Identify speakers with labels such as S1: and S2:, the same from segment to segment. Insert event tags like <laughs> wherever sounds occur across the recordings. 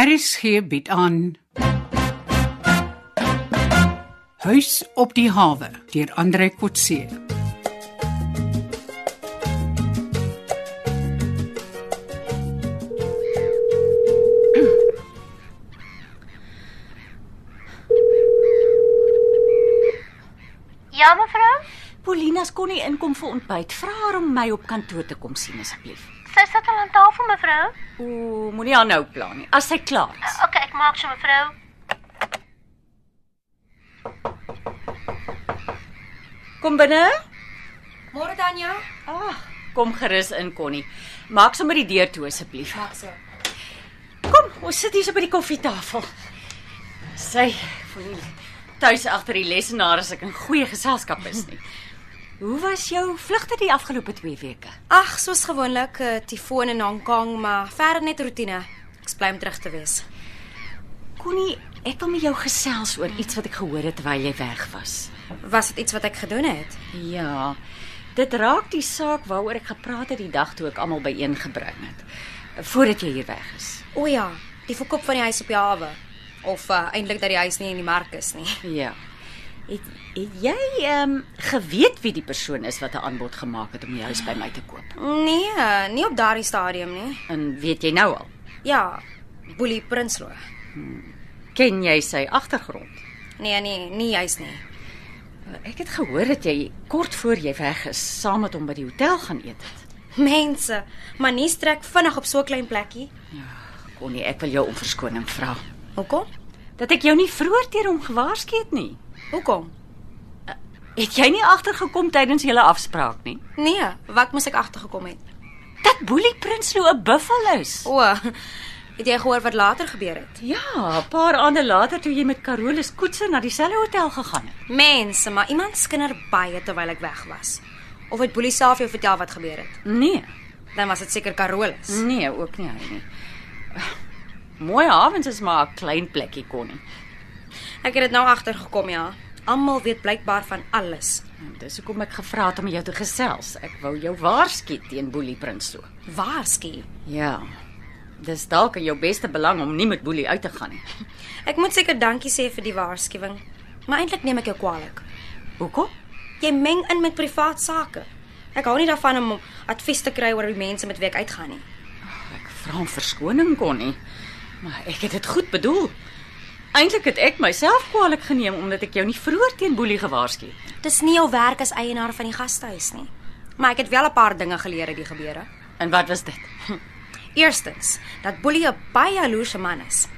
S1: Aris gee bied aan. Huis op die hawe deur Andre Kotse.
S2: Ja, mevrou.
S3: Polina's kon nie inkom vir ontbyt. Vra haar om my op kantoor te kom sien asseblief.
S2: Sy sit al aan tafel, mevrou.
S3: O, moenie haar nou pla nie. As sy klaar is.
S2: OK, ek maak so, mevrou.
S3: Kom binne.
S4: Môre Tanya,
S3: Ag, kom gerus in Connie. Maak sommer die deur toe asseblief.
S4: maak so.
S3: Kom, ons sit hier so by die koffietafel. Sy voel nie tuis agter die lesenaar as ek in goeie geselskap is nie. Hoe was jou vlugte die afgelope 2 weke?
S4: Ag, soos gewoonlik, eh, tifoon en Hong Kong, maar verder net rotine. Ek bly om terug te wees.
S3: Connie, ek wil met jou gesels oor iets wat ek gehoor het terwyl jy weg was.
S4: Was dit iets wat ek gedoen het?
S3: Ja. Dit raak die saak waaroor ek gepraat het die dag toe ek almal byeengebring het voordat jy hier weg is.
S4: O ja, die verkoop van die huis op die hawe. Of uh, eintlik dat die huis nie in die mark is nie.
S3: Ja. Het, het jy ehm um, geweet wie die persoon is wat 'n aanbod gemaak het om die huis by my te koop?
S4: Nee, eh, nie op daardie stadium nie.
S3: En weet jy nou al?
S4: Ja, Boelie Prinsloo.
S3: Ken jy sy agtergrond?
S4: Nee, nee, nie juis nie.
S3: Ek het gehoor dat jy kort voor jy weg is saam met hom by die hotel gaan eet het.
S4: Mense, maar nie strek vinnig op so 'n klein plekkie.
S3: Connie, ek wil jou om verskoning vra
S4: Hoekom?
S3: dat ek jou nie vroeër teer hom gewaarsku het nie.
S4: Hoekom?
S3: Het jy nie agtergekom tydens julle afspraak nie?
S4: Nee, wat moes ek agtergekom het?
S3: Dat Boelie Prinsloo 'n buffel is.
S4: O, eh, het jy gehoor wat later gebeur het?
S3: Ja, 'n paar aande later toe jy met Carolus Koetse na dieselfde hotel gegaan het.
S4: Mense, maar iemand skinder baie terwyl ek weg was. Of het Boelie self jou vertel wat gebeur het?
S3: Nee,
S4: Dan was dit seker Carolus.
S3: nee, ook nie hy nie. Mooi avonds is maar 'n klein plekkie kon nie.
S4: Ek het dit nou agtergekom ja. Almal weet blykbaar van alles.
S3: Dis hoekom ek gevra het om met jou te gesels. Ek wou jou waarsku teen Boelie Prinsloo.
S4: Waarskynlik.
S3: Ja. Dis dalk in jou beste belang om nie met Boelie uit te gaan nie.
S4: Ek moet seker dankie sê vir die waarskuwing. Maar eintlik neem ek jou kwaadlik.
S3: Hoekom?
S4: Jy meng in met privaat sake. Ek hou nie daarvan om advies te kry oor die mense met wie ek uitgaan nie.
S3: Ek vra om verskoning kon nie. Maar ek het dit goed bedoel. Eintlik het ek myself kwaadlik geneem omdat ek jou nie vroeër teen Boelie gewaarsku het.
S4: Dis nie jou werk as eienaar van die gastehuis nie. Maar ek het wel 'n paar dinge geleer uit die gebeure.
S3: En wat was dit?
S4: Eerstens, dat Boelie 'n baie jaloerse man is.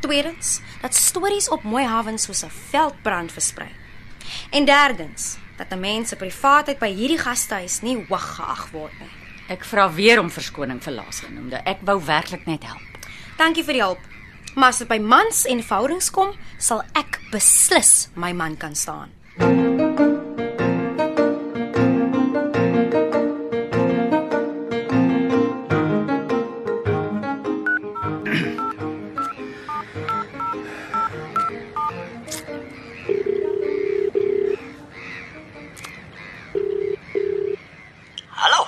S4: Tweedens, dat stories op mooi hawens soos 'n veldbrand versprei. En derdens, dat 'n mens se privaatheid by hierdie gastehuis nie hoog geag word nie.
S3: Ek vra weer om verskoning vir laasgenoemde. Ek wou werklik net help.
S4: Dankie vir die hulp. Maar as dit by mans en verhoudings kom, sal ek beslis my man kan staan.
S5: Hallo.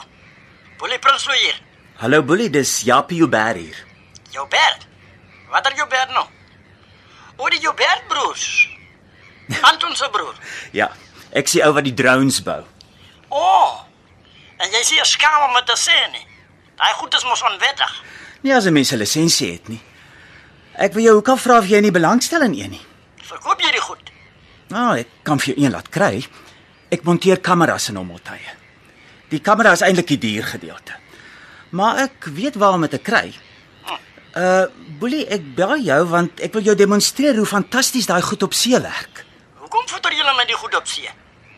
S5: Boelie Prinsloo hier.
S6: Hallo Boelie, dis Japie Joubert hier.
S5: Joubert. Wat is Joubert nou? O, die Joubert broers. Anton se broer.
S6: Ja, ek sien ou wat die drones bou.
S5: O. Oh, en jy sien skaam om dit te sê nie. Daai goed is mos onwettig.
S6: Nie as 'n mens 'n lisensie het nie. Ek wil jou hoekom vra of jy nie belangstel in een nie.
S5: Verkoop jy die goed?
S6: Nou, ek kan vir jou een laat kry. Ek monteer kameras in hom altye. Die kamera is eintlik die duur gedeelte. Maar ek weet waar om dit te kry. Uh Boelie, ek bel jou want ek wil jou demonstreer hoe fantasties daai goed op see werk.
S5: Hoekom voeder julle met die goed op see?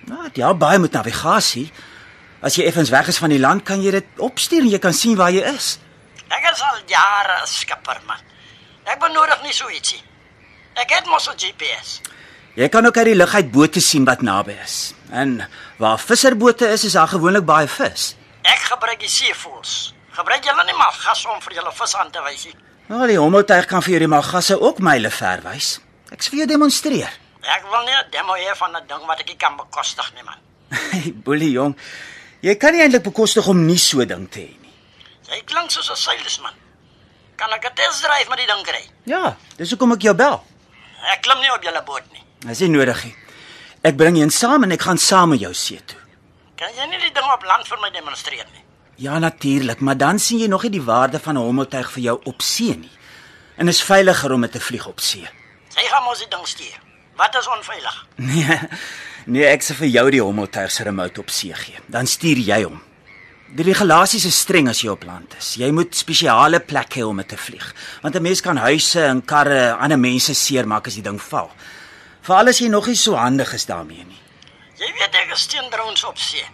S6: Nou, dit help baie met navigasie. As jy effens weg is van die land, kan jy dit opstuur en jy kan sien waar jy is.
S5: Ek is al jare 'n skipper man. Ek benodig nie so ietsie. Ek het mos 'n GPS.
S6: Jy kan ook uit die lug uit bote sien wat naby is. En waar visserbote is, is daar gewoonlik baie vis.
S5: Ek gebruik die seevoels. Gebruik julle nie maar gas om vir julle vis aan te wys nie.
S6: Wel, Nou, die hommeltuig kan vir jou die malgasse ook myle ver wys. Ek sal vir jou demonstreer. <laughs>
S5: Ek wil nie 'n demo hê van 'n ding wat ek nie kan bekostig nie man.
S6: Hey, boelie jong. Jy kan nie eintlik bekostig om nie so ding te hê nie.
S5: Jy klink soos 'n seilsman. Kan ek 'n testdryf met die ding kry?
S6: Ja, dis hoekom ek jou bel.
S5: Ek klim nie op julle boot nie.
S6: Dis nie nodig nie. Ek bring een saam en ek gaan saam met jou see toe.
S5: Kan jy nie die ding op land vir my demonstreer nie?
S6: Ja natuurlik, maar dan sien jy nog nie die waarde van 'n hommeltuig vir jou op see nie. En is veiliger om dit te vlieg op see.
S5: Sy gaan mos die ding stuur. Wat is onveilig?
S6: Nee. Nee, ek sê vir jou die hommeltuig se remote op see gee. Dan stuur jy hom. Die regulasies is streng as jy op land is. Jy moet spesiale plek hê om dit te vlieg, want 'n mens kan huise en karre, ander mense seermaak as die ding val. Veral as jy nog nie so handig is daarmee nie.
S5: Jy weet ek is teen drones op see.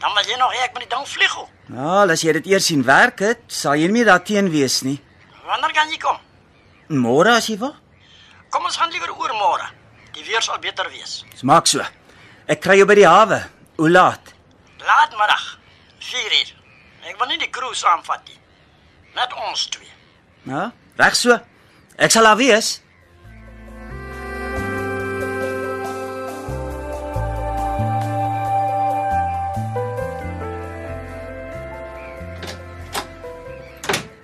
S5: Dan wil jy nog hê ek moet die ding vlieg. hoor.
S6: Nou, as jy dit eers sien werk het, sal jy nie meer daarteen wees nie.
S5: Wanneer kan jy kom?
S6: Môre as jy wil.
S5: Kom ons gaan liewer oor môre. Die weer sal beter wees.
S6: Dis maak so. Ek kry jou by die hawe. Hoe laat?
S5: Laatmiddag. 4 uur. Ek wil nie die cruise aanvat nie. Net ons twee.
S6: Ja, reg so. Ek sal daar wees.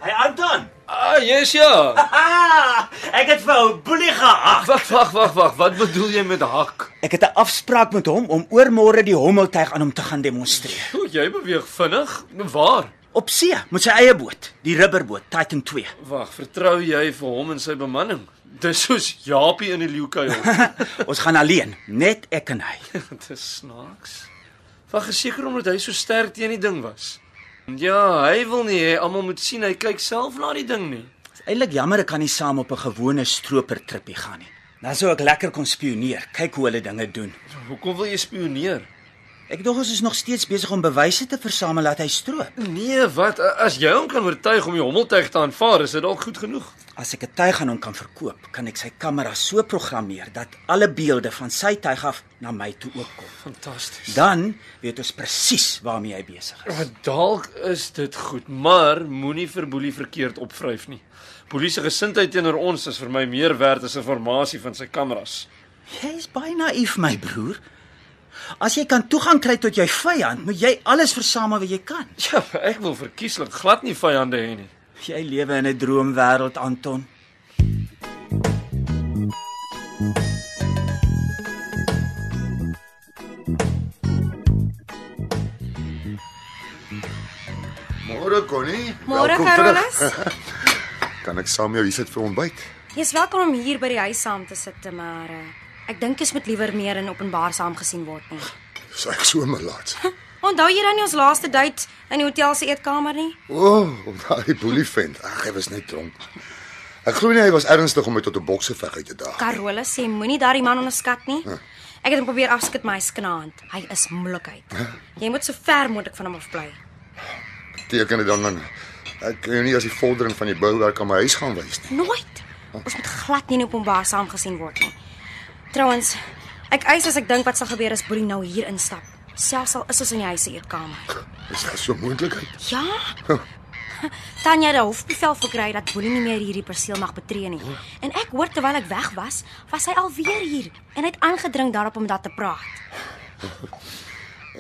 S6: Hey Anton. <laughs>
S7: Ah, yes ja.
S6: Ah, ek het vir ou Boelie gehag.
S7: Wag, wag, wag, wag. Wat bedoel jy met hak?
S6: Ek het 'n afspraak met hom om oormôre die hommeltuig aan hom te gaan demonstreer.
S7: O, jy beweeg vinnig. Waar?
S6: Op see met sy eie boot, die rubberboot Titan 2.
S7: Wag, vertrou jy vir hom en sy bemanning? Dis soos Japie in die <laughs> leeukuil.
S6: Ons gaan alleen, net ek en hy.
S7: Dit is snaaks. Wag, is seker omdat hy so sterk teen die ding was. Ja, hy wil nie hê almal moet sien hy kyk self na die ding nie.
S6: Is Eintlik jammer ek kan nie saam op 'n gewone stroper trippie gaan nie. Dan sou ek lekker kon spioneer, kyk hoe hulle dinge doen.
S7: Hoekom wil jy spioneer?
S6: Ek dink ons is nog steeds besig om bewyse te versamel dat hy stroop.
S7: Nee, wat a- as jy hom kan oortuig om die hommeltuig te aanvaar, is dit dalk goed genoeg.
S6: As ek 'n tuig aan hom kan verkoop, kan ek sy kamera so programmeer dat alle beelde van sy tuig af na my toe ook kom.
S7: Fantasties.
S6: Dan weet ons presies waarmee hy besig is.
S7: Ja, Dalk is dit goed, maar moenie vir Boelie verkeerd opvryf nie. Boelie se gesindheid teenoor ons is vir my meer werd as inligting van sy kameras.
S6: Jy's baie naïef, my broer. As jy kan toegang kry tot jou vyand, moet jy alles versamel wat jy kan.
S7: Ja, ek wil verkieslik glad nie vyande hê nie.
S6: Jy lewe in 'n droomwêreld, Anton.
S8: Môre Connie.
S4: Môre
S8: Welkom terug.
S4: Carolus.
S8: <laughs> Kan ek saam jou hier sit vir ontbyt?
S4: Jy's welkom om hier by die huis saam te sit, maar eh, ek dink jy's moet liewer meer in openbaar saam gesien word nie.
S8: Dis ek so malaat.
S4: Onthou jy dan nie ons laaste date in die hotel se eetkamer nie?
S8: O, oh, op daai boelie vent. Ag, hy was net dronk. Ek glo nie hy was ernstig om my tot 'n bokseveg uit te daag.
S4: Carolus sê moenie daardie man onderskat nie. Ek het hom probeer afskud maar hy's knaand. Hy is moeilikheid. Jy moet so ver moontlik van hom af bly.
S8: Beteken dit dan dan ek kan jou nie as die vordering van die bouwerk aan my huis gaan wys nie.
S4: Nooit. Ons moet glad nie in openbaar saam gesien word nie. Trouwens, ek eis as ek dink wat sal gebeur as Boelie nou hier instap. Selfs al is ons in die huis se eetkamer.
S8: Is daar so 'n moontlikheid?
S4: Ja. <laughs> Tanya het 'n hofbevel verkry dat Boelie nie meer hierdie perseel mag betree nie. En ek hoor terwyl ek weg was, was hy alweer hier en hy het aangedring daarop om dat te praat.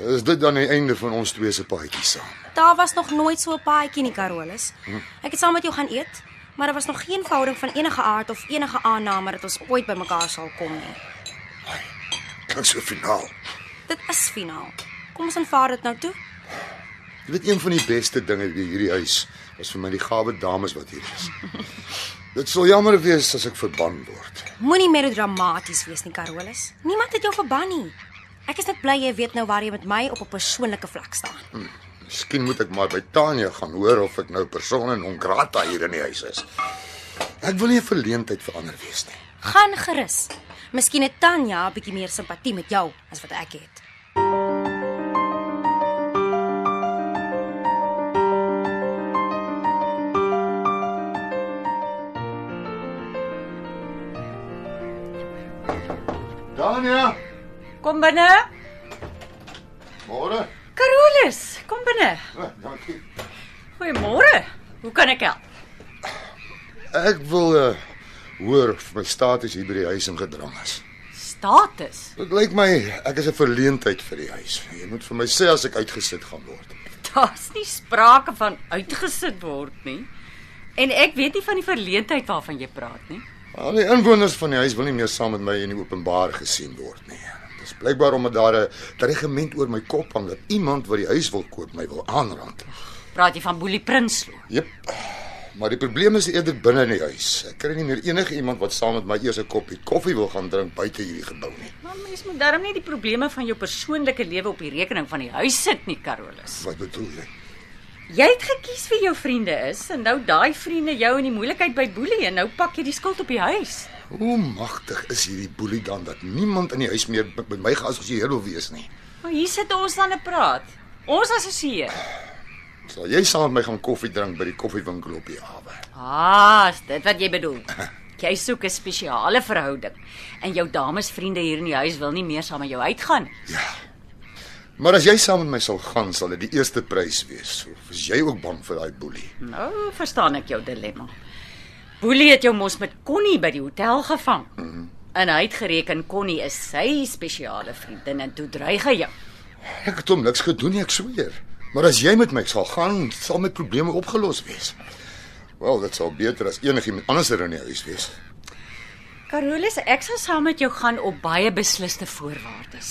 S8: Is dit dan die einde van ons twee se paadjie saam?
S4: Daar was nog nooit so 'n paadjie nie, Carolus. Ek het saam met jou gaan eet, maar daar was nog geen verhouding van enige aard of enige aanname dat ons ooit bymekaar sal kom nie.
S8: Klink so finaal.
S4: Dit is finaal. Kom ons aanvaar dit nou toe.
S8: Jy weet een van die beste dinge by hierdie huis is vir my die gawe dames wat hier is. Dit sou jammer wees as ek verban word.
S4: Moenie melodramaties wees nie, Carolus. Niemand het jou verban nie. Ek is net bly jy weet nou waar jy met my op 'n persoonlike vlak staan.
S8: Miskien moet ek maar by Tanya gaan hoor of ek nou persona non grata hier in die huis is. Ek wil nie 'n verleentheid vir ander wees nie.
S4: Gaan gerus. Miskien het Tanya 'n bietjie meer simpatie met jou as wat ek het.
S8: Tanya,
S3: Kom binne.
S8: môre.
S3: Carolus, kom binne.
S8: O, Dankie.
S3: Goeiemôre. Hoe kan ek help?
S8: Ek wil uh, hoor of my status hier by die huis ingedrang is.
S3: Status.
S8: Dit lyk my ek is 'n verleentheid vir die huis. Jy moet vir my sê as ek uitgesit gaan word.
S3: Daar's nie sprake van uitgesit word nie. En ek weet nie van die verleentheid waarvan jy praat nie.
S8: Al die inwoners van die huis wil nie meer saam met my in die openbaar gesien word nie. Dit is blykbaar omdat daar 'n dreigement oor my kop hang dat iemand wat die huis wil koop my wil aanrand.
S3: Praat jy van Boelie Prinsloo?
S8: Jep. Maar die probleem is eerder binne in die huis. Ek kry nie meer enige iemand wat saam met my eers 'n koppie koffie wil gaan drink buite hierdie gebou nie.
S3: Maar mens moet darm nie die probleme van jou persoonlike lewe op die rekening van die huis sit nie, Carolus.
S8: Wat bedoel jy?
S3: Jy het gekies wie jou vriende is en nou daai vriende jou in die moeilikheid by boelie en nou pak jy die skuld op die huis.
S8: Hoe magtig is hierdie boelie dan dat niemand in die huis meer met my geassosieer wil wees nie?
S3: Maar hier sit ons dan en praat. Ons assosieer.
S8: Sal jy saam met my gaan koffie drink by die koffiewinkel op die hawe?
S3: Ah, is dit wat jy bedoel. Jy soek 'n spesiale verhouding en jou damesvriende hier in die huis wil nie meer saam met jou uitgaan nie.
S8: Ja. Maar as jy saam met my sal gaan, sal dit die eerste prys wees. Of is jy ook bang vir daai boelie?
S3: Nou verstaan ek jou dilemma. Boelie het jou mos met Connie by die hotel gevang. En hy het gereken Connie is sy spesiale vriendin en toe dreig hy jou.
S8: Ek het hom niks gedoen nie, ek sweer. Maar as jy met my sal gaan, sal my probleme opgelos wees. Wel, dit sal beter as enigiemand anders er in die huis wees.
S3: Carolus, ek sal saam met jou gaan op baie besliste voorwaardes.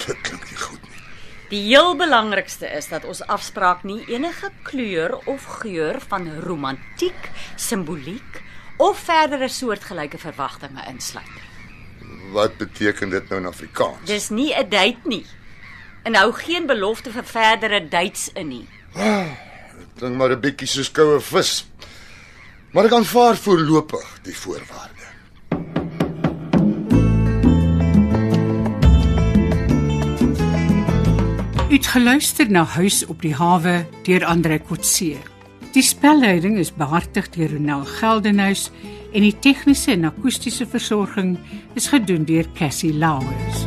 S8: Dit klink nie goed nie.
S3: Die heel belangrikste is dat ons afspraak nie enige kleur of geur van romantiek, simboliek of verdere soortgelyke verwagtinge insluit nie.
S8: Wat beteken dit nou in Afrikaans?
S3: Dis nie 'n date nie. En hou geen belofte vir verdere dates in nie.
S8: Klink maar 'n bietjie soos koue vis. Maar ek aanvaar voorlopig die voorwaarde.
S1: Uitgeluister na Huis op die hawe deur Andre Kotse. Die spelleiding is behartig deur Ronel Geldenhuys en die tegniese en akoestiese versorging is gedoen deur Cassie Lauers.